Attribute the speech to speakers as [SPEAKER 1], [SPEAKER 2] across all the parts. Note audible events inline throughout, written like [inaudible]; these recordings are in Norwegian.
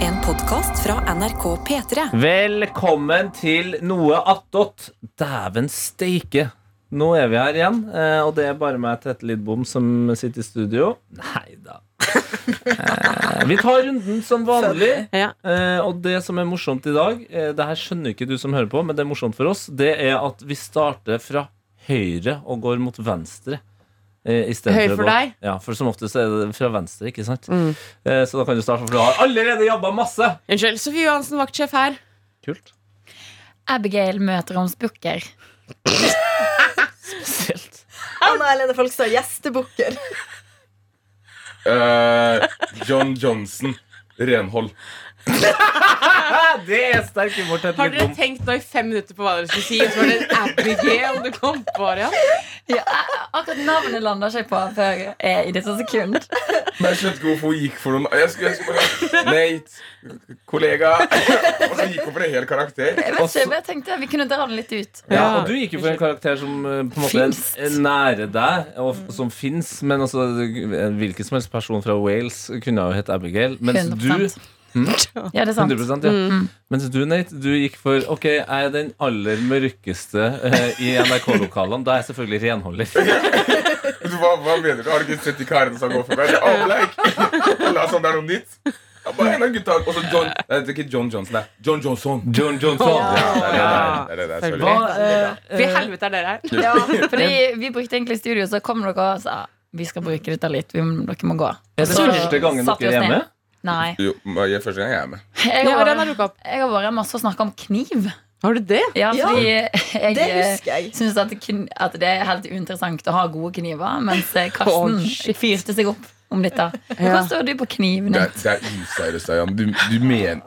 [SPEAKER 1] En podkast fra NRK P3.
[SPEAKER 2] Velkommen til noe attåt. Dæven steike. Nå er vi her igjen, eh, og det er bare meg, Tete Lidbom, som sitter i studio. Nei da. Eh, Vi tar runden som vanlig.
[SPEAKER 1] Ja.
[SPEAKER 2] Eh, Og det som er morsomt i dag, eh, det her skjønner ikke du som hører på, men det er morsomt for oss, det er at vi starter fra høyre og går mot venstre. eh, i stedet
[SPEAKER 3] Høyre for
[SPEAKER 2] å gå-
[SPEAKER 3] deg? Mm.
[SPEAKER 2] Ja, for som oftest er det fra venstre, ikke sant? Eh, Så da kan du starte, for du har allerede jobba masse.
[SPEAKER 3] Unnskyld, Sofie Johansen, vaktsjef her.
[SPEAKER 2] Kult.
[SPEAKER 4] Abigail møter hans bukker.
[SPEAKER 2] Spesielt.
[SPEAKER 5] Anna Helene Folkstad, [laughs] gjestebukker.
[SPEAKER 6] Eh, John Johnson. Renhold.
[SPEAKER 2] Ah, Det er sterk humor til et
[SPEAKER 3] Har dere
[SPEAKER 2] lite
[SPEAKER 3] tenkt nå i fem minutter på hva dere skulle si? Så var det en Abigail du kom på, Arian.
[SPEAKER 4] [laughs] Eh, Akkurat navnet lander ikke jeg på før jeg i dette sekund.
[SPEAKER 6] Men jeg skjønte ikke hvorfor hun gikk for noen Jeg skulle, jeg skulle bare Nate, kollega Og så gikk hun for en hel karakter.
[SPEAKER 4] Jeg vet ikke, jeg bare tenkte Vi kunne dra den litt ut.
[SPEAKER 2] Ja,
[SPEAKER 3] Ja.
[SPEAKER 2] og du gikk jo for en karakter som eh, på en måte er-
[SPEAKER 4] Finst.
[SPEAKER 2] er nære deg, og f- som fins. Men altså, en hvilken som helst person fra Wales kunne jo hett Abigail. Mens du
[SPEAKER 4] 100%. [laughs] Ja, det er sant.
[SPEAKER 2] 100 ja. Mens du, Nate, du gikk for Ok, jeg er den aller mørkeste eh, i NRK-lokalene. Da er jeg selvfølgelig renholder. [laughs]
[SPEAKER 6] Du, hva, hva mener du? Har du ikke sett de karene som går for meg? Det er avleik. La som det er noe nytt. Det er bare en av gutta. Og så John Nei, det er ikke John Johnson, nei. John Johnson.
[SPEAKER 2] John Johnson.
[SPEAKER 6] Ja, det er det, det er det, det er det,
[SPEAKER 2] Hva,
[SPEAKER 6] sorry.
[SPEAKER 2] eh,
[SPEAKER 3] Hvor i helvete er dere her?
[SPEAKER 4] Ja, fordi vi brukte egentlig studio, så kom dere og sa vi skal bruke dette litt. Vi, dere må gå.
[SPEAKER 2] er det
[SPEAKER 4] Så
[SPEAKER 2] første gangen
[SPEAKER 4] satte vi
[SPEAKER 2] dere er
[SPEAKER 4] oss
[SPEAKER 2] hjemme?
[SPEAKER 4] ned. Nei.
[SPEAKER 6] Jo, men jeg, første gang jeg er med.
[SPEAKER 4] Jeg
[SPEAKER 3] Ja,
[SPEAKER 4] har,
[SPEAKER 3] Arian har dukket opp.
[SPEAKER 4] jeg har vært hjemme og snakka om kniv.
[SPEAKER 3] Har du det?
[SPEAKER 4] Ja,
[SPEAKER 5] Ja,
[SPEAKER 4] fordi
[SPEAKER 5] Det
[SPEAKER 4] jeg
[SPEAKER 5] husker jeg.
[SPEAKER 4] syns at, kn- at det er helt uinteressant å ha gode kniver, mens eh, Karsten
[SPEAKER 3] Å, shit.
[SPEAKER 4] fyrte seg opp om dette. Hva
[SPEAKER 3] Ja.
[SPEAKER 4] står du på kniv,
[SPEAKER 6] Det
[SPEAKER 4] Nate?
[SPEAKER 6] er, det er useriøst, Ayan. Du, du mener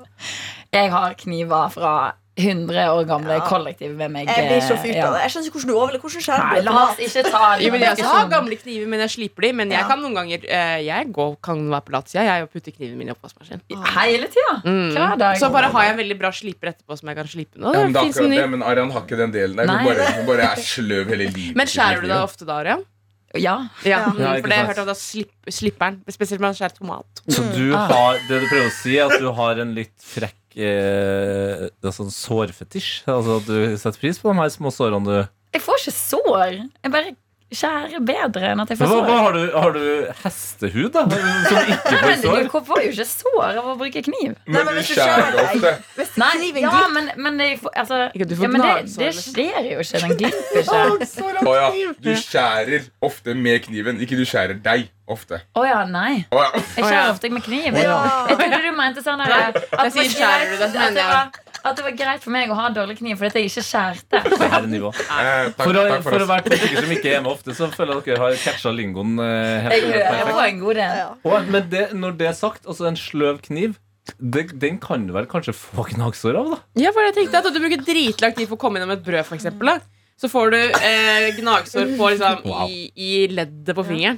[SPEAKER 4] Jeg har kniver fra 100 år gamle kollektiv med meg. eh,
[SPEAKER 5] Jeg blir så fyrt
[SPEAKER 4] Ja.
[SPEAKER 5] av det. Jeg skjønner ikke hvordan du overlever hvordan skjærer
[SPEAKER 4] Nei,
[SPEAKER 5] du
[SPEAKER 4] la oss
[SPEAKER 5] opp
[SPEAKER 4] ikke sånn. ta
[SPEAKER 3] Jo, men jeg også har
[SPEAKER 4] diskusjonen.
[SPEAKER 3] gamle kniver, men jeg sliper de. Men jeg kan noen ganger eh, Jeg går, kan være på latsida jeg, og putte knivene mine i oppvaskmaskinen.
[SPEAKER 4] Hele tida. Hver dag.
[SPEAKER 3] Mm. Så bare har jeg en veldig bra sliper etterpå som jeg kan slipe nå.
[SPEAKER 6] ja, men, det
[SPEAKER 3] Det finnes
[SPEAKER 6] er
[SPEAKER 3] en ny.
[SPEAKER 6] akkurat det, men Arian har ikke den delen der.
[SPEAKER 4] Nei.
[SPEAKER 6] Hun bare, hun bare er sløv hele livet.
[SPEAKER 3] Men skjærer du deg ofte da, Arian?
[SPEAKER 4] Ja.
[SPEAKER 3] Ja,
[SPEAKER 5] Ja.
[SPEAKER 3] mm,
[SPEAKER 2] Ja, ikke
[SPEAKER 3] for det har jeg
[SPEAKER 2] sant.
[SPEAKER 3] hørt at da slipp, slipper den. Spesielt når man skjærer tomat.
[SPEAKER 2] Så du har, det du prøver å si, er at du har en litt frekk eh, altså en sårfetisj? Altså at du setter pris på de her små sårene du
[SPEAKER 4] Jeg får ikke sår. Jeg bare skjærer bedre enn at jeg
[SPEAKER 2] Men
[SPEAKER 4] får
[SPEAKER 2] hva, hva
[SPEAKER 4] sår.
[SPEAKER 2] har, du, har du hestehud, da? Som ikke får
[SPEAKER 4] Men du
[SPEAKER 2] sår?
[SPEAKER 4] du får jo ikke sår av å bruke kniv.
[SPEAKER 5] Nei,
[SPEAKER 6] Men
[SPEAKER 5] men
[SPEAKER 6] du
[SPEAKER 5] hvis du
[SPEAKER 6] skjærer
[SPEAKER 5] skjærer
[SPEAKER 6] deg ofte.
[SPEAKER 5] Hvis
[SPEAKER 4] Nei,
[SPEAKER 5] kniven
[SPEAKER 4] ja,
[SPEAKER 5] glipper
[SPEAKER 4] men, men jeg får, altså,
[SPEAKER 3] Ikke, du får
[SPEAKER 4] ja, men det,
[SPEAKER 3] gnagsår,
[SPEAKER 4] det
[SPEAKER 3] liksom.
[SPEAKER 4] skjer jo ikke. Den glipper ikke.
[SPEAKER 6] Å ja, du skjærer ofte med kniven, ikke du skjærer deg ofte.
[SPEAKER 4] Å ja, nei.
[SPEAKER 6] Å ja.
[SPEAKER 4] Jeg
[SPEAKER 3] Å, ja.
[SPEAKER 4] skjærer ofte med kniv.
[SPEAKER 5] Ja.
[SPEAKER 4] Jeg trodde du mente sånn der, at,
[SPEAKER 3] Jeg
[SPEAKER 4] det var
[SPEAKER 3] sier skjærer du
[SPEAKER 4] greit-
[SPEAKER 3] det, så
[SPEAKER 4] at,
[SPEAKER 3] mener
[SPEAKER 4] det
[SPEAKER 3] jeg-
[SPEAKER 4] var- at det var greit for meg å ha dårlig kniv fordi at jeg ikke skjærte.
[SPEAKER 2] Det her er nivå.
[SPEAKER 6] Eh, takk,
[SPEAKER 2] For å,
[SPEAKER 6] takk
[SPEAKER 2] for
[SPEAKER 6] for
[SPEAKER 2] å
[SPEAKER 6] oss.
[SPEAKER 2] være to stykker som ikke er hjemme ofte, så føler jeg at dere har catcha lingoen. eh, helt
[SPEAKER 4] Jeg hører
[SPEAKER 2] perfekt.
[SPEAKER 4] på en god del.
[SPEAKER 5] Ja.
[SPEAKER 2] Og, men det, når det er sagt, altså en sløv kniv, det, den kan du vel kanskje få gnagsår av, da?
[SPEAKER 3] Ja, for jeg tenkte at Du bruker dritlang tid for å komme innom et brød, for eksempel, da. Så får du eh, gnagsår på, liksom, i, i leddet på fingeren.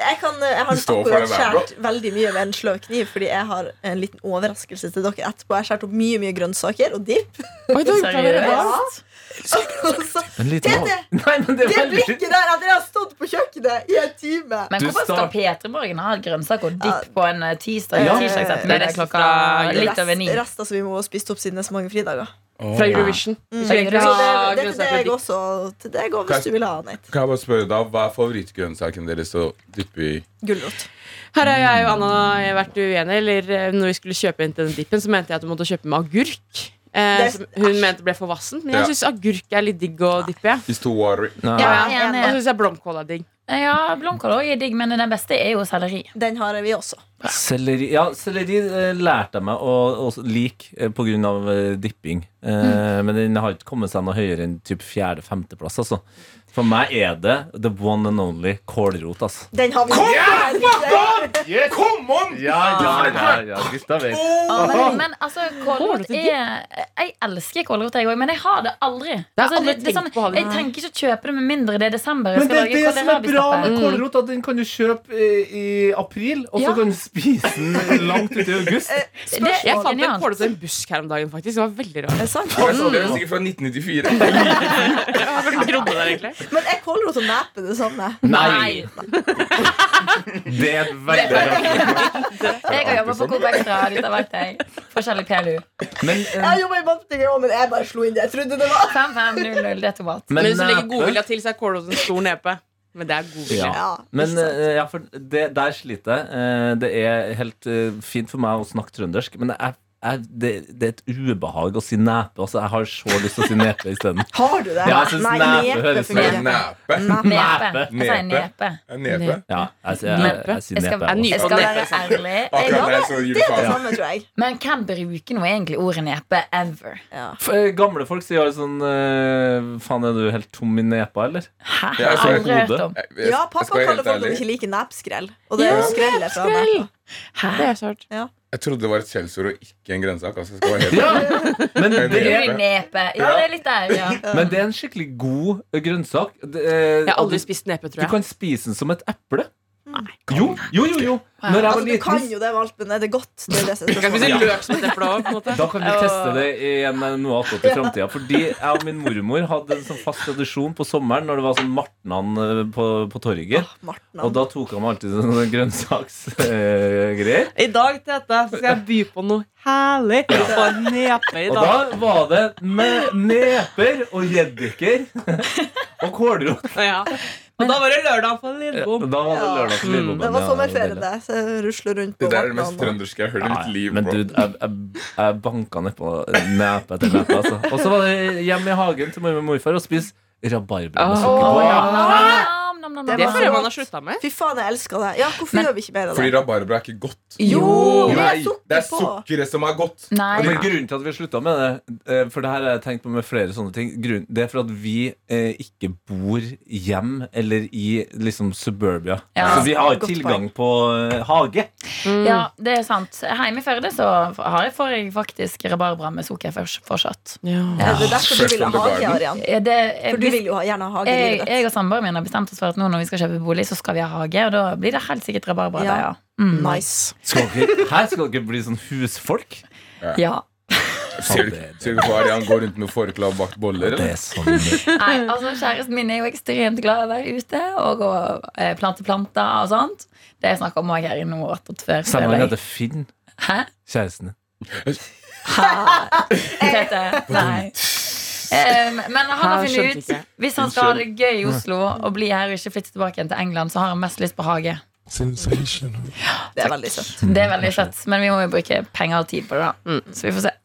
[SPEAKER 5] Jeg, kan, eh, jeg har
[SPEAKER 6] Du står for
[SPEAKER 5] akkurat
[SPEAKER 6] det der, bro.
[SPEAKER 5] skjært veldig mye med en sløv kniv, fordi jeg har en liten overraskelse til dere etterpå. Jeg har skjært opp mye mye grønnsaker og dipp.
[SPEAKER 3] Oi, da,
[SPEAKER 4] Seriøst?
[SPEAKER 5] [laughs] Det
[SPEAKER 2] En liten
[SPEAKER 5] Tete!
[SPEAKER 2] av- Nei, men det er veldig
[SPEAKER 5] blikket der! At jeg har stått på kjøkkenet i en time.
[SPEAKER 4] Men
[SPEAKER 2] Du
[SPEAKER 4] hvorfor skal
[SPEAKER 2] start-
[SPEAKER 4] Peter Morgen ha grønnsak og dipp på en eh, tirsdag?
[SPEAKER 5] Ja.
[SPEAKER 4] Tirsdagsettermiddag
[SPEAKER 3] Rest
[SPEAKER 4] klokka
[SPEAKER 3] fra-
[SPEAKER 4] litt over ni.
[SPEAKER 5] Rest- Rester som vi må ha spist opp siden det er så mange fridager.
[SPEAKER 3] Fra Eurovision.
[SPEAKER 5] Mm.
[SPEAKER 3] Så egentlig
[SPEAKER 5] Så
[SPEAKER 3] ha
[SPEAKER 5] det, det er til
[SPEAKER 3] grønnsaker og
[SPEAKER 5] deg
[SPEAKER 3] dipp.
[SPEAKER 5] også. Til deg også, hvis du vil ha Nate.
[SPEAKER 6] Kan jeg bare spørre da, Hva er favorittgrønnsaken deres å dyppe i?
[SPEAKER 5] Gulrot.
[SPEAKER 3] Her har jeg og Anna vært uenige. Eller eh, når vi skulle kjøpe inn til den dippen, så mente jeg at du måtte kjøpe med agurk. Eh,
[SPEAKER 5] Det-
[SPEAKER 3] som hun mente ble for vassen. Men
[SPEAKER 6] Ja.
[SPEAKER 3] jeg syns agurk er litt digg å dippe i.
[SPEAKER 6] It's too watery.
[SPEAKER 2] Nei.
[SPEAKER 3] Ja,
[SPEAKER 4] Ja,
[SPEAKER 3] ja. Og
[SPEAKER 4] enig.
[SPEAKER 3] så syns jeg blomkål er digg.
[SPEAKER 4] Ja, blomkål også er digg, men den beste er jo selleri.
[SPEAKER 5] Den har vi også.
[SPEAKER 2] Selleri Ja, selleri eh, lærte jeg meg å, å like eh, på grunn av eh, dipping. Eh, Men den har ikke kommet seg noe høyere enn typ fjerde-femteplass. Altså. For meg er det the one and only kålrot. Altså.
[SPEAKER 5] Den har vi
[SPEAKER 6] Come on!
[SPEAKER 2] Ja, ja, ja, ja, gutta vet.
[SPEAKER 4] Men, men altså, kålrot
[SPEAKER 3] Kålrot er
[SPEAKER 4] er Jeg elsker kålrot, jeg òg, men jeg har det aldri.
[SPEAKER 3] har
[SPEAKER 4] Altså,
[SPEAKER 3] aldri
[SPEAKER 4] det, det er
[SPEAKER 3] tenkt på å ha
[SPEAKER 4] sånn,
[SPEAKER 3] det.
[SPEAKER 4] jeg trenger ikke å kjøpe det med mindre det er desember. Jeg
[SPEAKER 2] Men det
[SPEAKER 4] skal
[SPEAKER 2] er det
[SPEAKER 4] lage
[SPEAKER 2] som er bra
[SPEAKER 4] kålrabistappe.
[SPEAKER 2] med kålrot, at den kan du kjøpe eh, i april, og så
[SPEAKER 4] Ja.
[SPEAKER 2] kan du spise den eh, langt ut i august.
[SPEAKER 4] Det
[SPEAKER 3] Jeg
[SPEAKER 4] er
[SPEAKER 3] fant en
[SPEAKER 4] genialt.
[SPEAKER 3] kålrot i en busk her om dagen, faktisk. Det var veldig rart.
[SPEAKER 5] Er det sant?
[SPEAKER 6] Det er sikkert fra
[SPEAKER 5] Mm.
[SPEAKER 6] 1994.
[SPEAKER 3] Jeg trodde det egentlig
[SPEAKER 5] Men er kålrot og nepe det samme?
[SPEAKER 4] Nei.
[SPEAKER 2] [laughs] Det er veldig rart.
[SPEAKER 4] Jeg har jobba på Coop Extra. Dette vet jeg. Forskjellig PLU.
[SPEAKER 2] Men, eh,
[SPEAKER 5] Jeg jobba i matbutikken òg, men jeg bare slo inn det jeg trodde det var.
[SPEAKER 4] 5500, det er tomat.
[SPEAKER 3] Men hvis du legger
[SPEAKER 2] nepe-
[SPEAKER 3] godvilja til, så er kålroten en stor nepe. Men det er godvilje.
[SPEAKER 2] eh, Ja.
[SPEAKER 5] Ja,
[SPEAKER 2] Men
[SPEAKER 5] ikke sant.
[SPEAKER 2] eh, ja, for det, der sliter jeg. Eh, Det er helt eh, fint for meg å snakke trøndersk, men det er, er, det, det er et ubehag å si nepe. Altså, jeg har så lyst til å si nepe isteden.
[SPEAKER 5] Har du det?
[SPEAKER 2] Ja, jeg synes nepe høres
[SPEAKER 5] fungerer.
[SPEAKER 6] sånn Nepe.
[SPEAKER 5] Nepe.
[SPEAKER 4] Nepe. Jeg sier nepe.
[SPEAKER 6] En Nepe.
[SPEAKER 2] [laughs] Ja, jeg, sier- jeg, jeg, sier
[SPEAKER 4] Jeg skal,
[SPEAKER 2] nepe.
[SPEAKER 3] ny-
[SPEAKER 2] også.
[SPEAKER 4] jeg skal være ærlig. Jeg,
[SPEAKER 6] [laughs] Akkurat der så gjorde
[SPEAKER 5] Det er sånn- det
[SPEAKER 6] faen.
[SPEAKER 5] samme, tror jeg.
[SPEAKER 4] men hvem bruker nå egentlig ordet nepe ever?
[SPEAKER 2] F- eh, Gamle folk sier jo sånn eh, Faen, er du helt tom i nepa,
[SPEAKER 5] [laughs]
[SPEAKER 2] eller?
[SPEAKER 4] Hæ?
[SPEAKER 6] Ja, jeg ser-
[SPEAKER 4] Aldri hørt om.
[SPEAKER 6] Jeg- jeg-
[SPEAKER 5] Ja,
[SPEAKER 6] jeg skal
[SPEAKER 5] pappa
[SPEAKER 6] være
[SPEAKER 5] kaller
[SPEAKER 6] helt
[SPEAKER 5] folk
[SPEAKER 6] ærlig.
[SPEAKER 5] som ikke liker nepskrell. Og det er jo skrell jeg Altså, fra nepa.
[SPEAKER 4] Hæ?
[SPEAKER 3] Det har jeg så hørt.
[SPEAKER 6] Jeg trodde det var et skjellsord og ikke en grønnsak. Altså, jeg skal være helt
[SPEAKER 5] [laughs]
[SPEAKER 2] Ja, men det
[SPEAKER 6] Nepe.
[SPEAKER 2] er,
[SPEAKER 4] Ordet nepe. Ja, det er litt der,
[SPEAKER 6] [laughs]
[SPEAKER 4] ja.
[SPEAKER 2] men det er en skikkelig god grønnsak. Det, eh,
[SPEAKER 3] Jeg har
[SPEAKER 2] og du,
[SPEAKER 3] aldri spist
[SPEAKER 2] du
[SPEAKER 3] nepe, tror jeg.
[SPEAKER 2] kan spise den som et eple. Jo, jo, jo. jo. Når jeg
[SPEAKER 5] Altså,
[SPEAKER 2] var
[SPEAKER 5] du kan
[SPEAKER 2] liten,
[SPEAKER 5] jo det med alt, men er det godt? Det er det som er
[SPEAKER 3] Du kan spise
[SPEAKER 5] spørsmålet.
[SPEAKER 3] løk som et eple òg, på en måte.
[SPEAKER 2] Da kan vi teste det igjen med noe attåt i framtida. Fordi jeg og min mormor hadde en sånn fast tradisjon på sommeren når det var sånn martnan eh, på, på torget.
[SPEAKER 5] Åh, Martna.
[SPEAKER 2] Og da tok han alltid sånne eh, grønnsaksgreier.
[SPEAKER 3] I dag Tete, så skal jeg by på noe herlig. Få en nepe i
[SPEAKER 2] og
[SPEAKER 3] dag.
[SPEAKER 2] da var det med neper og gjeddiker og kålrot.
[SPEAKER 3] Ja. Og da var det lørdag på Lillebom.
[SPEAKER 2] Da var det lørdag til Lillebommen,
[SPEAKER 5] Det var
[SPEAKER 2] ja,
[SPEAKER 5] sommerferie,
[SPEAKER 2] deilig.
[SPEAKER 5] det. Så jeg rusler rundt på
[SPEAKER 6] Det der er det mest
[SPEAKER 5] martnaen.
[SPEAKER 6] trønderske jeg har hørt i mitt
[SPEAKER 2] Nei,
[SPEAKER 6] liv.
[SPEAKER 2] men
[SPEAKER 6] bro.
[SPEAKER 2] dude, jeg, jeg, jeg banka nedpå nepe etter nepe. Altså. Og så var det hjemme i hagen til mormor og morfar og spise rabarbra med
[SPEAKER 3] Åh,
[SPEAKER 2] sukker på.
[SPEAKER 3] ja.
[SPEAKER 4] Nam, nam, nam, nam.
[SPEAKER 3] Det føler jeg man har slutta med.
[SPEAKER 5] Fy faen, jeg elsker det. Ja, hvorfor
[SPEAKER 4] Men-
[SPEAKER 5] gjør vi ikke mer av
[SPEAKER 6] Fordi
[SPEAKER 5] det?
[SPEAKER 6] rabarbra er ikke godt.
[SPEAKER 4] Jo!
[SPEAKER 5] det er
[SPEAKER 6] Nei,
[SPEAKER 5] sukker
[SPEAKER 6] det er
[SPEAKER 5] på.
[SPEAKER 6] sukkeret som er godt.
[SPEAKER 4] Nei.
[SPEAKER 2] Men grunnen til at vi slutta med det, eh, for det her har jeg tenkt på med flere sånne ting, grunn- det er for at vi eh, ikke bor hjem eller i liksom suburbia.
[SPEAKER 4] Ja,
[SPEAKER 2] så vi har
[SPEAKER 5] godt
[SPEAKER 2] tilgang på eh, hage.
[SPEAKER 4] Ja, det er sant. Hjemme i Førde så har jeg, får jeg faktisk rabarbra med sukker først- fortsatt.
[SPEAKER 5] Er det derfor du
[SPEAKER 6] Fresh
[SPEAKER 5] vil ha
[SPEAKER 6] from the
[SPEAKER 5] hage,
[SPEAKER 6] garden.
[SPEAKER 5] Arian?
[SPEAKER 4] Er det, eh,
[SPEAKER 5] For du vil jo ha- gjerne ha hage i
[SPEAKER 4] jeg,
[SPEAKER 5] livet
[SPEAKER 4] jeg
[SPEAKER 5] ditt.
[SPEAKER 4] og samboeren min har bestemt oss for at nå når vi skal kjøpe bolig, så skal vi ha hage. Og da blir det helt sikkert rabarbra
[SPEAKER 5] Ja.
[SPEAKER 4] der, ja. Mm.
[SPEAKER 5] Nice.
[SPEAKER 2] Skal dere, [laughs] her skal dere bli sånn husfolk.
[SPEAKER 4] ja.
[SPEAKER 6] Ser du ser du på Arian går rundt med forkle og bakt boller?
[SPEAKER 2] Det
[SPEAKER 6] Eller?
[SPEAKER 2] er sånn
[SPEAKER 4] Nei, altså Kjæresten min er jo ekstremt glad i å være ute og å eh, plante planter og sånt. Det har jeg snakka om også her i noe attåt før.
[SPEAKER 2] Selv om
[SPEAKER 4] føler
[SPEAKER 2] han
[SPEAKER 4] jeg.
[SPEAKER 2] heter Finn,
[SPEAKER 4] Hæ?
[SPEAKER 2] kjæresten din.
[SPEAKER 4] Tete, [laughs] nei. Um, men han har
[SPEAKER 3] Jeg skjønte
[SPEAKER 4] funnet ut
[SPEAKER 3] ikke.
[SPEAKER 4] Hvis han skal ha det gøy i Oslo og bli her og ikke flytte tilbake igjen til England, så har han mest lyst på hage.
[SPEAKER 5] Det er veldig søtt.
[SPEAKER 4] Det er veldig søtt, men vi må jo bruke penger og tid på det, da. Så vi får se.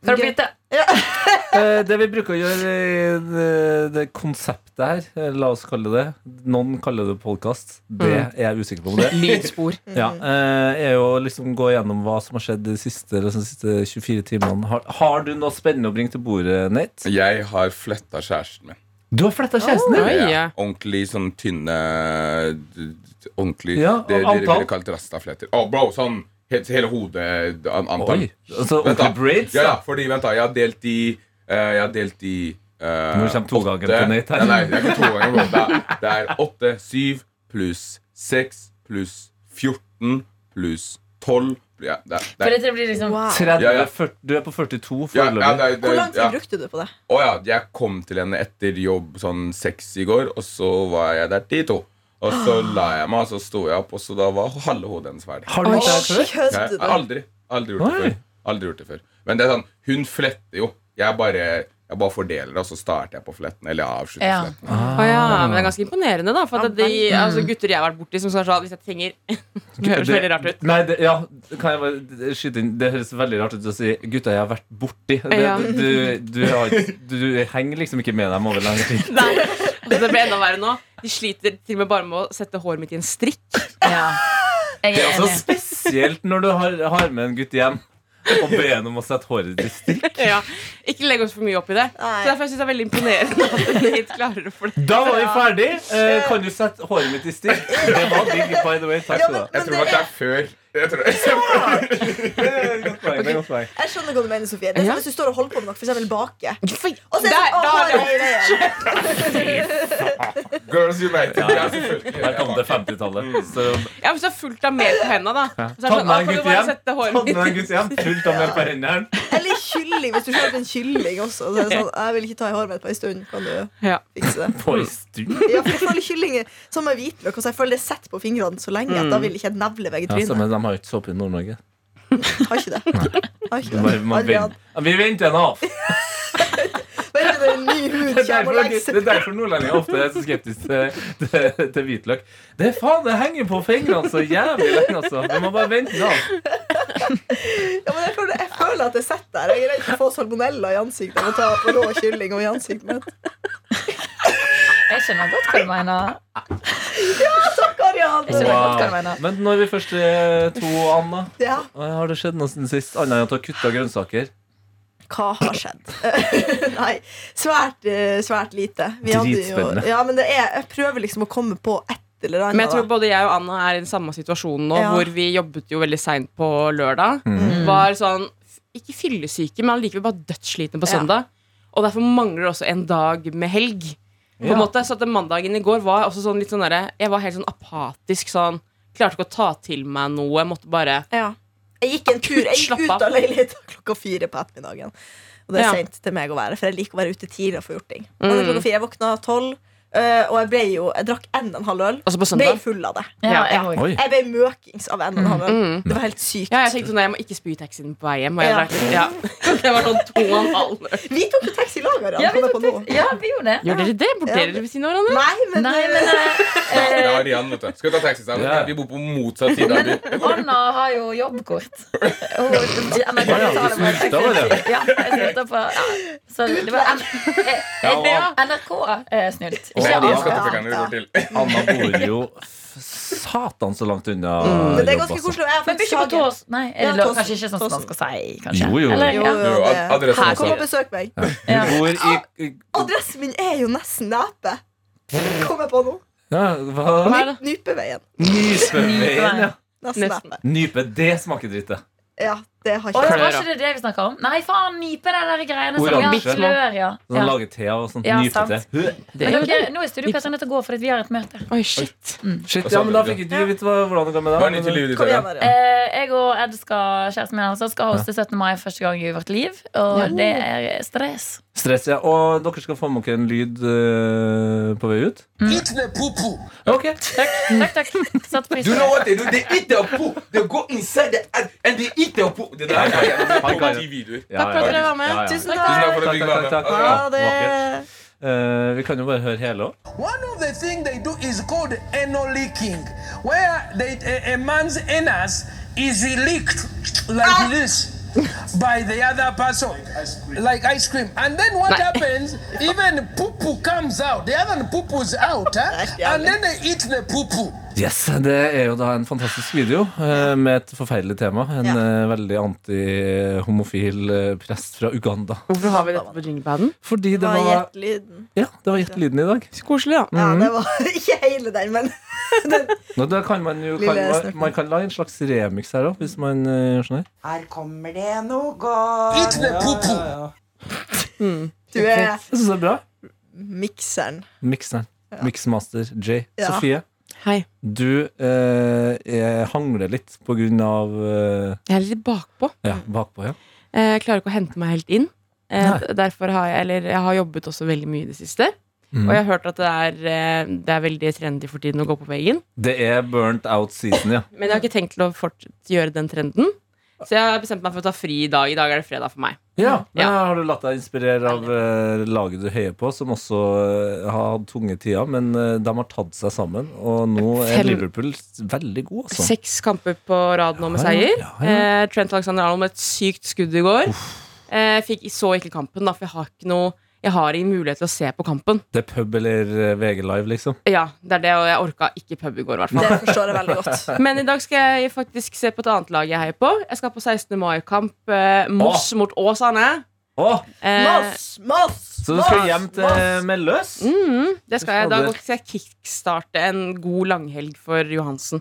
[SPEAKER 4] Kan det bli til?
[SPEAKER 2] Eh, Det vi bruker å gjøre i det, det konseptet her, eh, la oss kalle det Noen kaller det podkast. Det
[SPEAKER 4] Mm.
[SPEAKER 2] er jeg usikker på om det.
[SPEAKER 3] Lydspor.
[SPEAKER 2] Ja,
[SPEAKER 6] Mm.
[SPEAKER 2] eh, er jo å liksom gå gjennom hva som har skjedd de siste, eller de siste 24 timene. Har, har du noe spennende å bringe til bordet, Nate?
[SPEAKER 6] Jeg har fletta kjæresten min.
[SPEAKER 2] Du har fletta kjæresten din!
[SPEAKER 3] Oi,
[SPEAKER 6] Ja,
[SPEAKER 3] ja.
[SPEAKER 6] Ordentlig sånn tynne d- d- Ordentlig
[SPEAKER 2] Ja, og
[SPEAKER 6] Det dere
[SPEAKER 2] antall?
[SPEAKER 6] ville kalt rastafletter. Å, bro, sånn helt, hele hodet an- antall.
[SPEAKER 2] Oi, altså
[SPEAKER 6] Vent da.
[SPEAKER 2] ordentlig braids?
[SPEAKER 6] Ja,
[SPEAKER 2] da.
[SPEAKER 6] ja, fordi, vent da, jeg har delt i eh, Jeg har delt i eh,
[SPEAKER 2] Nå kommer togangeren på
[SPEAKER 6] åtte-
[SPEAKER 2] nytt her.
[SPEAKER 6] Nei, nei, det er ikke togangeren, bro. Det er, det er 8, 7 pluss 6 pluss 14 pluss 12 ja, det er, det
[SPEAKER 4] For
[SPEAKER 6] er,
[SPEAKER 4] dette blir liksom
[SPEAKER 5] Wow.
[SPEAKER 2] 30,
[SPEAKER 6] Ja, ja.
[SPEAKER 2] 40, du er på 42
[SPEAKER 6] ja, ja, det
[SPEAKER 2] foreløpig.
[SPEAKER 6] er, det,
[SPEAKER 5] Hvor lang tid
[SPEAKER 6] ja.
[SPEAKER 5] brukte du på det?
[SPEAKER 6] Å ja, jeg kom til henne etter jobb sånn seks i går, og så var jeg der til to. Og
[SPEAKER 2] [gasps]
[SPEAKER 6] så la jeg meg, og så sto jeg opp, og så da var halve hodet hennes ferdig.
[SPEAKER 2] Har du gjort det her før?
[SPEAKER 5] Kødder
[SPEAKER 6] Jeg
[SPEAKER 5] du?
[SPEAKER 6] har aldri, aldri gjort det
[SPEAKER 2] Oi.
[SPEAKER 6] før. Aldri gjort det før. Men det er sånn, hun fletter jo. Jeg bare, jeg bare fordeler det, og så starter jeg på fletten. Eller jeg avslutter
[SPEAKER 4] Ja.
[SPEAKER 6] fletten.
[SPEAKER 3] Å ja, men det er ganske imponerende, da. For at de altså, gutter jeg har vært borti, som sa sånn hvis jeg trenger [laughs] Det høres veldig rart ut.
[SPEAKER 2] Nei, det, ja, kan jeg bare skyte inn Det høres veldig rart ut å si 'gutta, jeg har vært borti'. Det,
[SPEAKER 3] Ja.
[SPEAKER 2] du, du, har, ikke- du henger liksom ikke med dem over lang tid.
[SPEAKER 3] Nei. Og det ble enda verre nå. De sliter til og med bare med å sette håret mitt i en strikk.
[SPEAKER 4] Ja. Jeg
[SPEAKER 2] Det
[SPEAKER 4] er altså-
[SPEAKER 2] er også
[SPEAKER 4] enig.
[SPEAKER 2] spesielt når du har, har med en gutt hjem og ber ham om å sette håret ditt i strikk.
[SPEAKER 3] Ja. Ikke legg oss for mye opp i det.
[SPEAKER 5] Nei.
[SPEAKER 3] Så derfor syns jeg det er veldig imponerende at Nate klarer å flette.
[SPEAKER 2] Da var vi ferdig eh, Kan du sette håret mitt i stikk? [laughs] Det var digg, by the way. Takk
[SPEAKER 5] Ja,
[SPEAKER 2] skal du ha.
[SPEAKER 5] men
[SPEAKER 6] Jeg tror nok det er før. Jeg tror,
[SPEAKER 5] Jeg skjønner hva du mener, Sofie. Det er
[SPEAKER 3] Ja.
[SPEAKER 5] sånn Hvis du står og holder på med noe, for eksempel bake.
[SPEAKER 3] Der,
[SPEAKER 5] Og så er det
[SPEAKER 3] der,
[SPEAKER 5] sånn, å,
[SPEAKER 3] er det-
[SPEAKER 5] har jeg det igjen?
[SPEAKER 6] [laughs] Girls United. Ja,
[SPEAKER 2] Her kom det
[SPEAKER 6] selvfølgelig.
[SPEAKER 2] 50-tallet. Så
[SPEAKER 3] Ja, hvis du er fullt av mer på hendene, Mm.
[SPEAKER 2] [laughs]
[SPEAKER 3] da. Og Så er det
[SPEAKER 2] Ta
[SPEAKER 3] sånn,
[SPEAKER 2] med
[SPEAKER 3] «Å,
[SPEAKER 2] en
[SPEAKER 3] kan du
[SPEAKER 2] gutt
[SPEAKER 3] bare
[SPEAKER 2] hjem.
[SPEAKER 3] sette
[SPEAKER 2] Ta
[SPEAKER 3] håret
[SPEAKER 2] med
[SPEAKER 3] mitt
[SPEAKER 2] en gutt hjem. Fullt av mel på hendene.
[SPEAKER 5] Eller kjylling, hvis du kjøper en kylling også. Så er det sånn, jeg vil ikke ta i håret mitt på en stund. Kan du
[SPEAKER 3] Ja.
[SPEAKER 5] fikse det?
[SPEAKER 2] [laughs] På en stund.
[SPEAKER 5] Ja, for jeg føler kylling er som med hvitløk. Altså, jeg føler det er sett på fingrene så lenge at da vil ikke jeg nevle meg i
[SPEAKER 2] Mm. Ja,
[SPEAKER 5] trynet.
[SPEAKER 2] men de har jo ikke såpe i Nord-Norge.
[SPEAKER 5] Har ikke det. Har ikke
[SPEAKER 2] Du bare,
[SPEAKER 5] det.
[SPEAKER 2] man
[SPEAKER 5] Adrian,
[SPEAKER 2] venter. Ja, vi venter en
[SPEAKER 3] [laughs]
[SPEAKER 2] av.
[SPEAKER 5] vent til det er en ny hud
[SPEAKER 2] [laughs] Det er
[SPEAKER 5] kommer og
[SPEAKER 2] derfor,
[SPEAKER 5] legger
[SPEAKER 2] det er
[SPEAKER 5] seg.
[SPEAKER 2] derfor nordlendinger ofte er så skeptiske til, til, til hvitløk. Det er faen, det henger på fingrene så jævlig lenge, altså. Vi må bare vente den av.
[SPEAKER 5] Ja, men jeg, føler, jeg føler at det sitter der. Jeg er redd for å få salmonella i ansiktet av å ta på rå kylling og i ansiktet mitt.
[SPEAKER 4] Jeg skjønner godt hva du mener.
[SPEAKER 5] Takk, Arian!
[SPEAKER 4] Jeg skjønner godt hva du
[SPEAKER 2] Wow.
[SPEAKER 4] mener.
[SPEAKER 2] Men når vi først er to, Anna
[SPEAKER 5] Ja.
[SPEAKER 2] Oi, Har det skjedd noe siden sist, annet enn at du har kutta grønnsaker?
[SPEAKER 5] Hva har skjedd? [laughs] Nei, svært, eh, svært lite. Vi hadde jo,
[SPEAKER 2] Dritspennende.
[SPEAKER 5] ja, men det er, jeg prøver liksom å komme på et eller annet.
[SPEAKER 3] Men jeg tror
[SPEAKER 5] da.
[SPEAKER 3] både jeg og Anna er i den samme situasjonen nå,
[SPEAKER 5] Ja.
[SPEAKER 3] hvor vi jobbet jo veldig seint på lørdag.
[SPEAKER 2] Mhm.
[SPEAKER 3] Var sånn Ikke fyllesyke, men allikevel bare dødsslitne på
[SPEAKER 5] Ja.
[SPEAKER 3] søndag. Og derfor mangler det også en dag med helg. På en
[SPEAKER 2] Ja.
[SPEAKER 3] måte, så at den Mandagen i går var jeg også sånn litt sånn derre Jeg var helt sånn apatisk sånn. Klarte ikke å ta til meg noe. Måtte bare
[SPEAKER 5] ja. Jeg gikk en tur jeg
[SPEAKER 3] Slapp
[SPEAKER 5] gikk ut
[SPEAKER 3] av.
[SPEAKER 5] av leiligheten klokka fire på ettermiddagen. Og det er
[SPEAKER 3] Ja.
[SPEAKER 5] sent til meg å være, for jeg liker å være ute tidlig og få gjort ting.
[SPEAKER 3] Mm.
[SPEAKER 5] Men klokka fire, Jeg våkna tolv, eh, og jeg ble jo Jeg drakk en og en halv øl.
[SPEAKER 3] Altså på
[SPEAKER 5] Ble
[SPEAKER 3] søndag.
[SPEAKER 5] full av det.
[SPEAKER 4] Ja, jeg
[SPEAKER 2] Oi.
[SPEAKER 4] òg.
[SPEAKER 5] Jeg ble møkings av en og en halv øl.
[SPEAKER 3] Mm.
[SPEAKER 5] Det var helt sykt.
[SPEAKER 3] Ja, jeg tenkte sånn, jeg må ikke spy i taxien på vei hjem. Og jeg
[SPEAKER 5] Ja.
[SPEAKER 3] drakk litt, ja. [laughs] Det var sånn to og en halv.
[SPEAKER 5] Vi tok jo taxi i lag, Arian.
[SPEAKER 4] Ja, vi
[SPEAKER 5] kom jeg
[SPEAKER 4] tok
[SPEAKER 5] på nå.
[SPEAKER 4] tekst- ja, vi gjorde det.
[SPEAKER 3] Gjør dere det? Borderer
[SPEAKER 5] Ja.
[SPEAKER 3] dere ved siden av hverandre?
[SPEAKER 5] Nei, men,
[SPEAKER 4] Nei, men
[SPEAKER 6] Ja, det er
[SPEAKER 4] eh, eh,
[SPEAKER 6] Arian, vet du. Skal vi ta taxi sammen?
[SPEAKER 2] Ja.
[SPEAKER 6] Vi bor på motsatt side av byen.
[SPEAKER 4] Anna har jo jobbkort. Hun, ja, men,
[SPEAKER 2] Ja, ja, du
[SPEAKER 4] betaler bare
[SPEAKER 2] snylta, var det?
[SPEAKER 4] Ja, jeg snylta på ja. Så det var N eh,
[SPEAKER 6] Ja,
[SPEAKER 4] det
[SPEAKER 6] og-
[SPEAKER 4] var NRK-snylt.
[SPEAKER 6] Og
[SPEAKER 4] Ikke
[SPEAKER 6] alle
[SPEAKER 4] Anna.
[SPEAKER 6] skattepenger går til.
[SPEAKER 2] Anna bor jo f- satan så langt unna
[SPEAKER 5] men Mm, det er
[SPEAKER 2] jobb,
[SPEAKER 5] ganske
[SPEAKER 2] altså.
[SPEAKER 5] koselig. og jeg har
[SPEAKER 4] Men
[SPEAKER 5] faktisk
[SPEAKER 4] ikke på
[SPEAKER 5] hagen.
[SPEAKER 4] tås. Nei, er
[SPEAKER 5] Ja,
[SPEAKER 4] det lov?
[SPEAKER 5] tås-
[SPEAKER 4] Kanskje ikke sånn som man skal si, kanskje?
[SPEAKER 2] Jo, jo.
[SPEAKER 4] Eller,
[SPEAKER 5] Jo,
[SPEAKER 4] ja.
[SPEAKER 5] jo,
[SPEAKER 6] Jo,
[SPEAKER 5] det-
[SPEAKER 6] ad- adressen
[SPEAKER 5] Her, Kom
[SPEAKER 6] også.
[SPEAKER 5] og besøk meg.
[SPEAKER 4] Ja.
[SPEAKER 2] Hun bor i i-
[SPEAKER 5] Adressen min er jo nesten nepe. Kom jeg på nå?
[SPEAKER 2] ja, Hva?
[SPEAKER 3] Hva er det?
[SPEAKER 5] Nypeveien.
[SPEAKER 2] Nysveveien, ja.
[SPEAKER 5] Nesten
[SPEAKER 3] Nesten.
[SPEAKER 5] nepe.
[SPEAKER 2] Nype, det smaker dritt, det.
[SPEAKER 5] Ja, det
[SPEAKER 4] Å,
[SPEAKER 5] har ikke
[SPEAKER 4] var ikke det det vi snakka om? Nei, faen, nype de der greiene som
[SPEAKER 2] Oransje.
[SPEAKER 4] har klør, ja.
[SPEAKER 2] Sånn
[SPEAKER 4] ja.
[SPEAKER 2] lager te av og sånn
[SPEAKER 4] Ja,
[SPEAKER 2] nypete.
[SPEAKER 4] sant.
[SPEAKER 2] Hø.
[SPEAKER 3] Det
[SPEAKER 4] Men
[SPEAKER 3] er jo
[SPEAKER 4] dere, nå er Studio Petter nødt til å gå, for vi har et møte.
[SPEAKER 3] Oi, shit.
[SPEAKER 2] Shit, ja, men da fikk ikke du vite hva- hvordan det går med
[SPEAKER 6] Hva er nytt i
[SPEAKER 2] deg.
[SPEAKER 6] livet ditt?
[SPEAKER 5] Kom igjen, Arian.
[SPEAKER 6] Arian?
[SPEAKER 4] Eh, jeg og Ed skal, kjæresten min altså, skal hoste 17. mai første gang i vårt liv, og det er stress.
[SPEAKER 2] Stress, ja. Og dere skal få med dere en lyd eh, på vei ut. Ok, takk.
[SPEAKER 4] Takk, takk. Satt pris på
[SPEAKER 6] Do you know
[SPEAKER 4] det.
[SPEAKER 6] what they do? They eat their poo. They go inside the ad and they eat their poo. Det der er
[SPEAKER 2] Han kan-
[SPEAKER 6] videoer.
[SPEAKER 2] Ja,
[SPEAKER 3] Takk for at
[SPEAKER 2] ja.
[SPEAKER 3] dere var med.
[SPEAKER 2] Ja, ja.
[SPEAKER 5] Tusen
[SPEAKER 6] Tusen takk
[SPEAKER 5] takk.
[SPEAKER 6] for at du fikk
[SPEAKER 2] Takk,
[SPEAKER 6] være
[SPEAKER 2] takk,
[SPEAKER 6] med.
[SPEAKER 2] takk.
[SPEAKER 5] Ha det.
[SPEAKER 2] Vakkert. Eh, vi kan jo bare høre hele òg.
[SPEAKER 7] One of the things they do is called anal leaking, where they, a, a man's anus is leaked like this by the other person, like ice cream. And then what happens? Even poo poo comes out. The other poo poo's out, huh? and then they eat the poo poo.
[SPEAKER 2] Yes, det er jo da en fantastisk video eh, med et forferdelig tema. En
[SPEAKER 5] Ja.
[SPEAKER 2] eh, veldig antihomofil eh, prest fra Uganda.
[SPEAKER 3] Hvorfor har vi dette på jinglepaden?
[SPEAKER 2] Fordi det
[SPEAKER 5] Hva
[SPEAKER 2] var
[SPEAKER 5] het lyden?
[SPEAKER 2] Ja, det var gjett lyden i dag.
[SPEAKER 3] Så koselig, da.
[SPEAKER 5] Ja, det var [laughs] ikke hele den, men
[SPEAKER 2] Nå, da kan man, jo,
[SPEAKER 5] Lille
[SPEAKER 2] kan, man,
[SPEAKER 5] snorken.
[SPEAKER 2] man kan lage en slags remix her òg, hvis man eh, gjør sånn her.
[SPEAKER 8] Her kommer det noe godt.
[SPEAKER 7] Eat the poo poo.
[SPEAKER 5] du er
[SPEAKER 2] Jeg synes det er bra.
[SPEAKER 5] mikseren.
[SPEAKER 2] Mikseren. Mixmaster J.
[SPEAKER 5] Ja.
[SPEAKER 2] Sofie,
[SPEAKER 3] Hei.
[SPEAKER 2] du eh, er- hangler litt på grunn av eh,
[SPEAKER 3] Jeg er litt bakpå.
[SPEAKER 2] Ja, bakpå, ja.
[SPEAKER 3] Eh, Jeg klarer ikke å hente meg helt inn. Eh,
[SPEAKER 2] Nei.
[SPEAKER 3] Derfor har jeg, eller jeg har jobbet også veldig mye i det siste.
[SPEAKER 2] Mhm.
[SPEAKER 3] Og jeg har hørt at det er, eh, det er veldig trendy for tiden å gå på veggen.
[SPEAKER 2] Det er burnt out season, ja.
[SPEAKER 3] Men jeg har ikke tenkt til å fortsette gjøre den trenden. Så jeg har bestemt meg for å ta fri i dag. I dag er det fredag for meg.
[SPEAKER 2] Ja, men
[SPEAKER 3] Ja.
[SPEAKER 2] Har du latt deg inspirere av eh, laget du heier på, som også eh, har hatt tunge tider, men eh, de har tatt seg sammen, og nå er
[SPEAKER 3] Fem-
[SPEAKER 2] Liverpool s- veldig god, altså.
[SPEAKER 3] Seks kamper på rad nå med
[SPEAKER 2] Ja, ja,
[SPEAKER 3] seier.
[SPEAKER 2] ja, ja.
[SPEAKER 3] Eh, Trent Alexander Arnold med et sykt skudd i går. Eh, fikk, så ikke kampen, da, for jeg har ikke noe Jeg har ingen mulighet til å se på kampen.
[SPEAKER 2] Det er pub eller eh, VG Live, liksom.
[SPEAKER 3] Ja, det er det, og jeg orka ikke pub i går, i hvert fall.
[SPEAKER 5] Det forstår jeg veldig godt.
[SPEAKER 3] Men i dag skal jeg faktisk se på et annet lag jeg heier på. Jeg skal på 16. mai-kamp eh, Moss mot Åsane.
[SPEAKER 2] Åh,
[SPEAKER 3] Eh,
[SPEAKER 5] Moss, Moss,
[SPEAKER 2] så du skal
[SPEAKER 5] Moss,
[SPEAKER 2] hjem til
[SPEAKER 5] Moss.
[SPEAKER 2] Melløs?
[SPEAKER 3] mm, det skal jeg. Da
[SPEAKER 2] Fader.
[SPEAKER 3] skal jeg kickstarte en god langhelg for Johansen.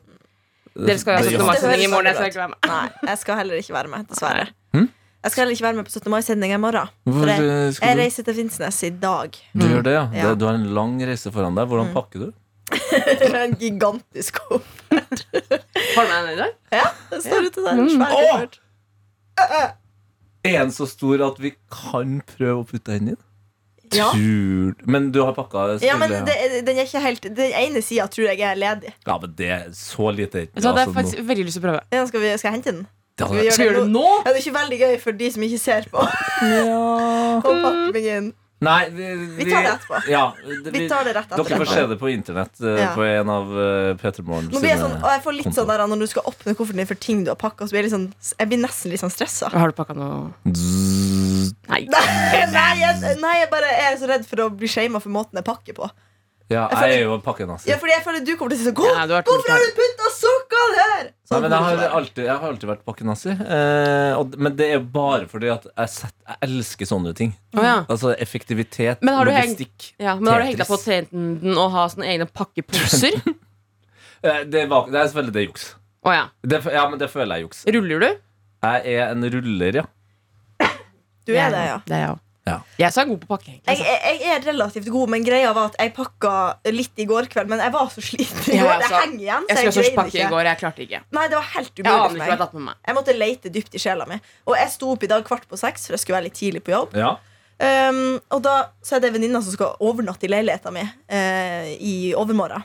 [SPEAKER 3] Dere skal jo
[SPEAKER 2] Det-
[SPEAKER 3] ha 17. mai-sending i
[SPEAKER 5] høres
[SPEAKER 3] morgen. Jeg
[SPEAKER 5] veldig
[SPEAKER 3] skal ikke være med.
[SPEAKER 5] Nei, jeg skal heller ikke være med, dessverre.
[SPEAKER 2] Hm?
[SPEAKER 5] Jeg skal heller ikke være med på 17. mai-sendinga i morgen.
[SPEAKER 2] Hvor
[SPEAKER 5] For jeg,
[SPEAKER 2] eh,
[SPEAKER 5] jeg
[SPEAKER 2] skal du?
[SPEAKER 5] reiser til Finnsnes i dag.
[SPEAKER 2] Du gjør det, ja.
[SPEAKER 5] Ja.
[SPEAKER 2] Det- Du har en lang reise foran deg. Hvordan pakker du?
[SPEAKER 5] [laughs] En gigantisk kopp.
[SPEAKER 3] Har du med den i dag?
[SPEAKER 5] Den står ute der. en Svær
[SPEAKER 2] Åh!
[SPEAKER 5] koffert.
[SPEAKER 2] Er den så stor at vi kan prøve å putte den inn?
[SPEAKER 5] Ja.
[SPEAKER 2] Tror... Men du har pakka?
[SPEAKER 5] Ja, men
[SPEAKER 2] selvfølgelig,
[SPEAKER 5] det, den er ikke helt Den ene sida tror jeg er ledig.
[SPEAKER 2] ja, men det er så lite.
[SPEAKER 3] Så hadde
[SPEAKER 2] altså,
[SPEAKER 3] jeg
[SPEAKER 2] nå-
[SPEAKER 3] faktisk veldig lyst til å prøve.
[SPEAKER 5] Ja, skal, vi, skal jeg hente den?
[SPEAKER 2] Det
[SPEAKER 5] Skal vi
[SPEAKER 2] hadde,
[SPEAKER 5] gjøre
[SPEAKER 3] Skal vi gjøre det nå?
[SPEAKER 5] Er det ikke veldig gøy for de som ikke ser på? [laughs] Å pakke meg inn.
[SPEAKER 2] nei, vi,
[SPEAKER 5] Vi tar det etterpå.
[SPEAKER 2] Ja, det-
[SPEAKER 5] Vi tar det rett etterpå.
[SPEAKER 2] Dere får se det på internett eh,
[SPEAKER 5] Ja.
[SPEAKER 2] på en av eh, P3 Morgen
[SPEAKER 5] Nå blir jeg sånn, og
[SPEAKER 2] sine
[SPEAKER 5] jeg får litt sånn der Når du skal åpne kofferten din for ting du har pakka, så blir jeg, litt sånn, jeg blir nesten litt sånn stressa.
[SPEAKER 3] Har du pakka noe Nei.
[SPEAKER 5] Nei, nei, jeg, nei, jeg bare er så redd for å bli shama for måten jeg pakker på.
[SPEAKER 2] Ja,
[SPEAKER 5] Jeg
[SPEAKER 2] jeg
[SPEAKER 5] føler-
[SPEAKER 2] er jo pakken hans.
[SPEAKER 5] Ja, fordi jeg føler du kommer til å si sånn «Hvor-
[SPEAKER 3] Ja, du har vært
[SPEAKER 5] Hvorfor
[SPEAKER 3] litt
[SPEAKER 5] har du putta sokkene her?! Sånn.
[SPEAKER 2] Nei, men jeg
[SPEAKER 5] kommer
[SPEAKER 2] har
[SPEAKER 5] det til å være.
[SPEAKER 2] alltid, jeg har alltid vært pakkenazi. Eh, og- men det er bare fordi at jeg, set, jeg elsker sånne ting.
[SPEAKER 3] Å, ja.
[SPEAKER 2] Altså effektivitet,
[SPEAKER 3] Men har du hengt-
[SPEAKER 2] logistikk.
[SPEAKER 3] Ja, men har du hengt deg på
[SPEAKER 2] Tetris.
[SPEAKER 3] trenden og ha sånne egne
[SPEAKER 2] [laughs]
[SPEAKER 3] pakkeposer?
[SPEAKER 2] Eh, det, var, det er selvfølgelig det er juks.
[SPEAKER 3] Å ja.
[SPEAKER 2] Det, ja, men det føler jeg er juks.
[SPEAKER 3] Ruller du?
[SPEAKER 2] Jeg er en ruller, ja.
[SPEAKER 5] Du er det, ja.
[SPEAKER 3] Det er jeg òg.
[SPEAKER 2] Ja.
[SPEAKER 3] Jeg er så god på pakke, egentlig.
[SPEAKER 5] Jeg, jeg, jeg er relativt god, men greia var at jeg pakka litt i går kveld. Men jeg var så sliten. i
[SPEAKER 3] Ja,
[SPEAKER 5] går,
[SPEAKER 3] altså,
[SPEAKER 5] det henger igjen,
[SPEAKER 3] Jeg
[SPEAKER 5] så jeg,
[SPEAKER 3] skulle også
[SPEAKER 5] greide
[SPEAKER 3] pakke i
[SPEAKER 5] ikke.
[SPEAKER 3] går, jeg klarte ikke.
[SPEAKER 5] Nei, det var helt
[SPEAKER 3] Jeg aner
[SPEAKER 5] umulig
[SPEAKER 3] ikke hva
[SPEAKER 5] for
[SPEAKER 3] jeg har
[SPEAKER 5] meg.
[SPEAKER 3] tatt med meg.
[SPEAKER 5] Jeg måtte lete dypt i sjela mi. Og jeg sto opp i dag kvart på seks, for jeg skulle være litt tidlig på jobb.
[SPEAKER 2] ja.
[SPEAKER 5] Um, og da så er det venninna som skal overnatte i leiligheta mi eh, i overmorgen.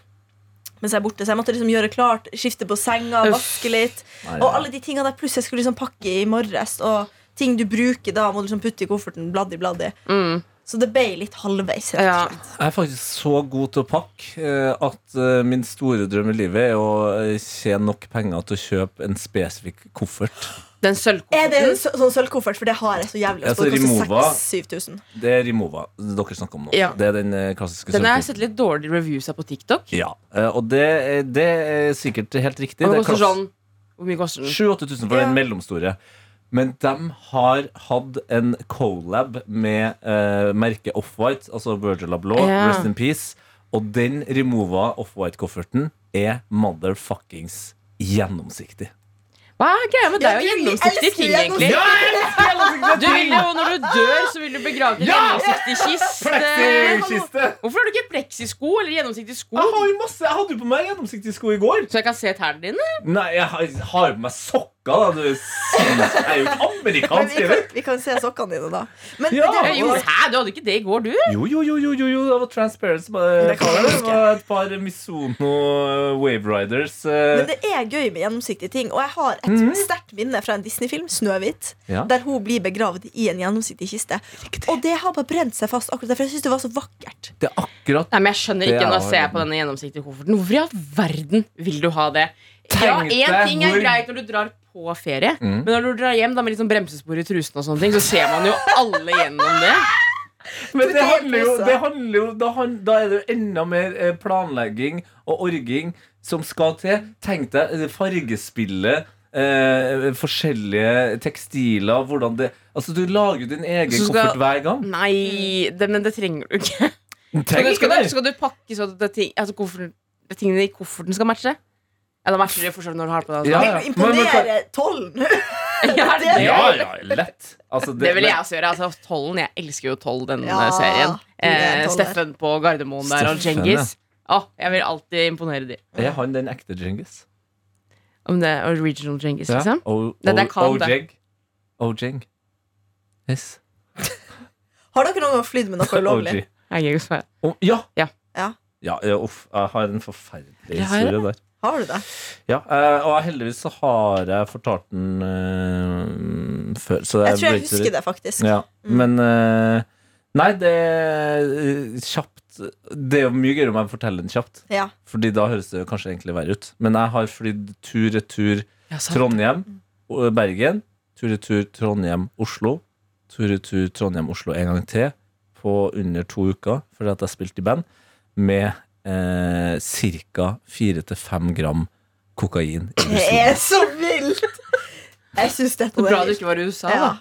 [SPEAKER 5] Mens jeg er borte, så jeg måtte liksom gjøre klart, skifte på senga,
[SPEAKER 3] Uff.
[SPEAKER 5] vaske litt.
[SPEAKER 2] Nei,
[SPEAKER 5] Og alle de tingene der pluss jeg skulle liksom pakke i morges. Og ting du bruker da, må du liksom putte i kofferten. Bladdi, bladdi.
[SPEAKER 3] Mm.
[SPEAKER 5] Så det ble litt halvveis. rett og
[SPEAKER 3] Ja.
[SPEAKER 5] slett.
[SPEAKER 2] Jeg er faktisk så god til å pakke eh, at eh, min store drøm i livet er å eh, tjene nok penger til å kjøpe en spesifikk koffert.
[SPEAKER 3] Den
[SPEAKER 5] Er det en
[SPEAKER 3] sølvkofferten.
[SPEAKER 5] sø- sånn sølvkoffert? For det har jeg så jævlig.
[SPEAKER 2] Ja,
[SPEAKER 5] lyst
[SPEAKER 2] så
[SPEAKER 5] på. Det
[SPEAKER 2] Rimowa.
[SPEAKER 5] koster 6000-7000.
[SPEAKER 2] Det er Rimowa dere snakker om nå.
[SPEAKER 3] Ja.
[SPEAKER 2] Det er den eh, klassiske
[SPEAKER 3] Den har jeg
[SPEAKER 2] sølvkoffert.
[SPEAKER 3] sett litt dårlige reviews av på TikTok.
[SPEAKER 2] Ja, eh, og det, er- det er sikkert helt riktig.
[SPEAKER 3] Og
[SPEAKER 2] Det er
[SPEAKER 3] den koster
[SPEAKER 2] klass-
[SPEAKER 3] sånn Hvor mye koster den?
[SPEAKER 2] 7000-8000 for
[SPEAKER 5] Ja.
[SPEAKER 2] den mellomstore. Men de har hatt en collab med eh, merket Offwhite, altså Virgil Abloh,
[SPEAKER 3] Ja.
[SPEAKER 2] Rest in Peace. Og den Remova Offwhite-kofferten er motherfuckings gjennomsiktig.
[SPEAKER 3] Hva er greia med deg og
[SPEAKER 5] Ja, du
[SPEAKER 3] gjennomsiktige
[SPEAKER 5] elsker
[SPEAKER 3] ting, egentlig?
[SPEAKER 5] gjennomsiktige
[SPEAKER 3] Du vil jo, Når du dør, så vil du begrave i en gjennomsiktig kiste. Hvorfor har du ikke pleksisko eller gjennomsiktig sko?
[SPEAKER 2] Jeg har jo masse, jeg hadde jo på meg gjennomsiktige sko i går.
[SPEAKER 3] Så jeg kan se tærne dine?
[SPEAKER 2] Nei, jeg har, jeg har jo på meg sokker, da. Du er sinnssyk. Jeg er jo ikke
[SPEAKER 5] Men
[SPEAKER 2] amerikansk,
[SPEAKER 5] vi kan,
[SPEAKER 2] eller?
[SPEAKER 5] vi kan se sokkene dine, da. Men
[SPEAKER 2] Ja.
[SPEAKER 5] det,
[SPEAKER 3] Eh, Jo, hæ, du hadde ikke det i går, du?
[SPEAKER 2] Jo, jo, jo, jo, jo, jo, det var Transparency. bare-
[SPEAKER 5] Det kan
[SPEAKER 2] Det
[SPEAKER 5] jeg
[SPEAKER 2] var et par Misono eh, Wave Riders. eh,
[SPEAKER 5] men det er gøy med gjennomsiktige ting. Og jeg har et sterkt minne fra en Disney-film,
[SPEAKER 2] Mhm.
[SPEAKER 5] 'Snøhvit',
[SPEAKER 2] Ja.
[SPEAKER 5] der hun blir begravd i en gjennomsiktig kiste. Og det har bare brent seg fast akkurat der, for jeg syns det var så vakkert.
[SPEAKER 2] Det er akkurat
[SPEAKER 3] Nei, men Jeg skjønner
[SPEAKER 2] Det
[SPEAKER 3] ikke når
[SPEAKER 2] er-
[SPEAKER 3] jeg ser på denne gjennomsiktige kofferten. Hvorfor i all verden vil du ha det? Ja,
[SPEAKER 2] Tenk
[SPEAKER 3] Én
[SPEAKER 2] deg
[SPEAKER 3] ting er
[SPEAKER 2] hvor- Mm.
[SPEAKER 3] greit når du drar på ferie, men når du drar hjem da med litt sånn bremsespor i trusen, og sånne ting så ser man jo alle gjennom det.
[SPEAKER 2] Men det
[SPEAKER 5] Ah, det
[SPEAKER 2] handler jo,
[SPEAKER 5] også.
[SPEAKER 2] det handler jo da, han, da er det jo enda mer eh, planlegging og orging som skal til. Tenk deg eh, fargespillet, eh, forskjellige tekstiler, hvordan det Altså, du lager jo din egen
[SPEAKER 3] Så skal-
[SPEAKER 2] koffert hver gang.
[SPEAKER 3] Nei, det, men det trenger du ikke. Skal
[SPEAKER 2] Tenk
[SPEAKER 3] du, Mm. skal,
[SPEAKER 2] deg.
[SPEAKER 3] du, skal du pakke så at det ting, altså kofferten, det tingene i kofferten skal matche? Ja, da matcher det for så vidt når du har på deg.
[SPEAKER 2] Ja,
[SPEAKER 3] Altså.
[SPEAKER 5] Vil
[SPEAKER 2] ja.
[SPEAKER 5] du
[SPEAKER 2] Men- men-
[SPEAKER 5] imponere tollen? [laughs]
[SPEAKER 3] [laughs] Ja, det,
[SPEAKER 2] Ja, ja, lett. Altså,
[SPEAKER 3] det vil jeg
[SPEAKER 2] men-
[SPEAKER 3] også gjøre. Altså, tollen, jeg elsker jo Toll, den
[SPEAKER 5] Ja,
[SPEAKER 3] eh, serien.
[SPEAKER 5] vi er en
[SPEAKER 3] Eh,
[SPEAKER 5] toller.
[SPEAKER 3] Steffen på Gardermoen der og
[SPEAKER 2] Steffen,
[SPEAKER 3] Djengis. Å, jeg vil alltid imponere de.
[SPEAKER 2] Er han den ekte Djengis?
[SPEAKER 3] Om det er original Djengis, liksom.
[SPEAKER 2] O-
[SPEAKER 3] Det- det
[SPEAKER 2] O-
[SPEAKER 3] kan det.
[SPEAKER 2] Ojeg. Ojeng. Yes.
[SPEAKER 5] Har dere noen gang
[SPEAKER 2] [laughs]
[SPEAKER 5] flydd med noe ulovlig?
[SPEAKER 2] OG.
[SPEAKER 3] Jeg gir ikke svar.
[SPEAKER 2] Å, ja.
[SPEAKER 3] Ja.
[SPEAKER 5] Ja.
[SPEAKER 2] Ja, ja, uff, jeg har en forferdelig
[SPEAKER 3] har jeg
[SPEAKER 2] historie der.
[SPEAKER 5] Har du det?
[SPEAKER 2] Ja, eh, og heldigvis så har jeg fortalt den eh, før. Så
[SPEAKER 5] Jeg tror jeg
[SPEAKER 2] brøyter-
[SPEAKER 5] husker det, Mm. faktisk.
[SPEAKER 2] Ja, Men eh, Nei, det er eh, kjapt Det er jo mye gøyere om jeg forteller den kjapt.
[SPEAKER 5] Ja.
[SPEAKER 2] Fordi da høres det jo kanskje egentlig verre ut. Men jeg har flydd tur-retur
[SPEAKER 3] Ja, sant.
[SPEAKER 2] Trondheim, og Bergen. Tur-retur Trondheim-Oslo. Tur-retur Trondheim-Oslo en gang til på under to uker, fordi at jeg spilte i band, med eh, ca. fire til fem gram kokain i
[SPEAKER 5] Det
[SPEAKER 2] bussen.
[SPEAKER 5] er så vilt! Jeg syns dette
[SPEAKER 3] Så bra
[SPEAKER 5] var
[SPEAKER 3] du ikke var i USA,
[SPEAKER 5] ja.
[SPEAKER 3] da.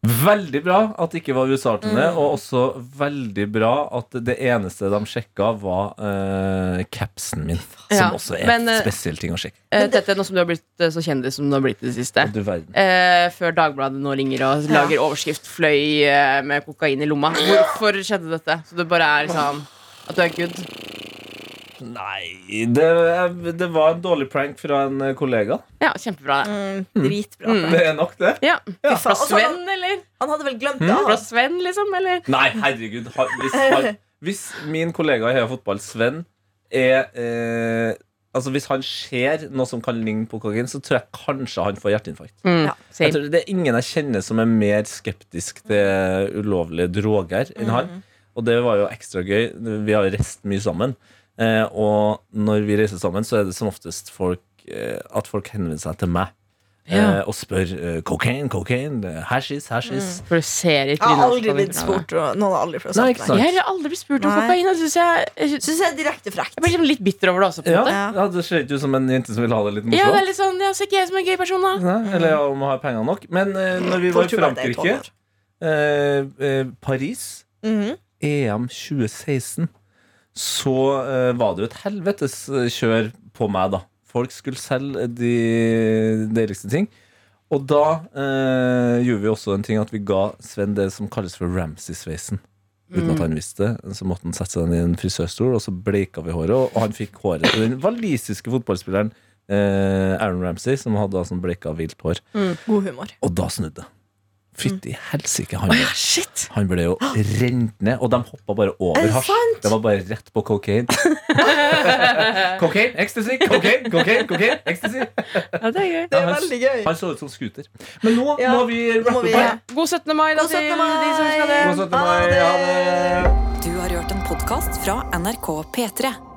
[SPEAKER 2] Veldig bra at det ikke var USA-turné,
[SPEAKER 3] Mm.
[SPEAKER 2] og også veldig bra at det eneste de sjekka, var eh, capsen min. Som
[SPEAKER 3] Ja,
[SPEAKER 2] også er
[SPEAKER 3] men,
[SPEAKER 2] en
[SPEAKER 3] eh,
[SPEAKER 2] spesiell ting å sjekke.
[SPEAKER 3] Eh, Tette, nå som du har blitt eh, så kjendis som du har blitt i det siste.
[SPEAKER 2] Og du verden.
[SPEAKER 3] Eh, før Dagbladet nå ringer og lager overskrift 'Fløy eh, med kokain i lomma'. Hvorfor skjedde dette? Så det bare er liksom at du er good?
[SPEAKER 2] Nei, det, det var en dårlig prank fra en kollega.
[SPEAKER 3] Ja, kjempebra. det.
[SPEAKER 5] Mm, dritbra.
[SPEAKER 2] Det er nok det.
[SPEAKER 3] Ja. Altså,
[SPEAKER 2] Ja.
[SPEAKER 3] Fra
[SPEAKER 5] Og så har
[SPEAKER 3] Sven, eller?
[SPEAKER 5] Han hadde vel
[SPEAKER 2] Mm.
[SPEAKER 5] glemt det.
[SPEAKER 3] Fra
[SPEAKER 5] han.
[SPEAKER 3] Sven, liksom? Eller?
[SPEAKER 2] Nei, herregud. har- Hvis, har, hvis min kollega i Heia Fotball, Sven, er eh, Altså Hvis han ser noe som kan ligne på kokain, så tror jeg kanskje han får hjerteinfarkt.
[SPEAKER 3] Mm,
[SPEAKER 2] Jeg
[SPEAKER 3] same.
[SPEAKER 2] tror Det er ingen jeg kjenner som er mer skeptisk til ulovlige droger enn
[SPEAKER 3] Mhm.
[SPEAKER 2] han. Og det var jo ekstra gøy. Vi har jo reist mye sammen. Eh, og når vi reiser sammen, så er det som oftest folk, eh, at folk henvender seg til meg. Eh,
[SPEAKER 3] Ja.
[SPEAKER 2] og spør eh, kokain, kokain, eh, hashish, hashish.
[SPEAKER 3] For du ser ikke
[SPEAKER 5] Jeg har aldri
[SPEAKER 3] norske
[SPEAKER 5] blitt
[SPEAKER 3] kokainene.
[SPEAKER 5] spurt, og noen har aldri prøvd å
[SPEAKER 2] Nei,
[SPEAKER 5] snakke
[SPEAKER 2] ikke
[SPEAKER 5] med
[SPEAKER 2] sant.
[SPEAKER 5] meg.
[SPEAKER 3] Jeg har heller aldri blitt spurt om
[SPEAKER 5] Nei.
[SPEAKER 3] kokain. Jeg, synes jeg, jeg,
[SPEAKER 5] Syns jeg er direkte frekt.
[SPEAKER 3] jeg blir liksom litt bitter over det også. på en
[SPEAKER 2] Ja,
[SPEAKER 3] måte
[SPEAKER 5] Ja.
[SPEAKER 2] ja, Det ser ikke ut som en jente som vil ha det litt
[SPEAKER 3] Sånn, Ja, det er
[SPEAKER 2] morsomt.
[SPEAKER 3] litt sånn, ja, så er ikke jeg som er en gøy person, da.
[SPEAKER 2] Nei, Eller om å ha penger nok. Men eh, når vi var
[SPEAKER 5] Folk
[SPEAKER 2] i
[SPEAKER 5] tror bare at jeg er
[SPEAKER 2] Frankrike,
[SPEAKER 5] tolv år.
[SPEAKER 2] eh, eh, Paris
[SPEAKER 5] Mhm.
[SPEAKER 2] EM 2016 så eh, var det jo et helvetes eh, kjør på meg, da. Folk skulle selge de deiligste ting. Og da eh, gjorde vi også en ting at vi ga Sven det som kalles for Ramsay-sveisen. Uten
[SPEAKER 5] Mm.
[SPEAKER 2] at han visste det. Så måtte han sette seg ned i en frisørstol, og så bleika vi håret. Og han fikk håret til den walisiske fotballspilleren eh, Aaron Ramsay, som hadde da sånn bleika vilt hår.
[SPEAKER 5] God humor.
[SPEAKER 2] Og da snudde det. Fytti helsike, han
[SPEAKER 3] Ja, shit
[SPEAKER 2] han ble jo rent ned, og de hoppa bare
[SPEAKER 5] Ah. Er
[SPEAKER 2] over
[SPEAKER 5] det
[SPEAKER 2] hasj.
[SPEAKER 5] sant?
[SPEAKER 2] Det var bare rett på cocaine. cocaine, ecstasy, cocaine, cocaine, cocaine, ecstasy.
[SPEAKER 3] ja, det er gøy.
[SPEAKER 5] Det
[SPEAKER 2] Ja,
[SPEAKER 5] er
[SPEAKER 2] han-
[SPEAKER 5] veldig gøy.
[SPEAKER 2] Han så ut som scooter. Men nå
[SPEAKER 5] Ja,
[SPEAKER 2] må vi
[SPEAKER 5] nå
[SPEAKER 2] rappe
[SPEAKER 5] må vi-
[SPEAKER 2] opp her.
[SPEAKER 3] God 17. mai, da,
[SPEAKER 5] God 17.
[SPEAKER 3] til de som skal
[SPEAKER 5] mai.
[SPEAKER 3] det.
[SPEAKER 2] God 17. mai,
[SPEAKER 5] Ha det.
[SPEAKER 2] ha det.
[SPEAKER 1] Du har hørt en podkast fra NRK P3.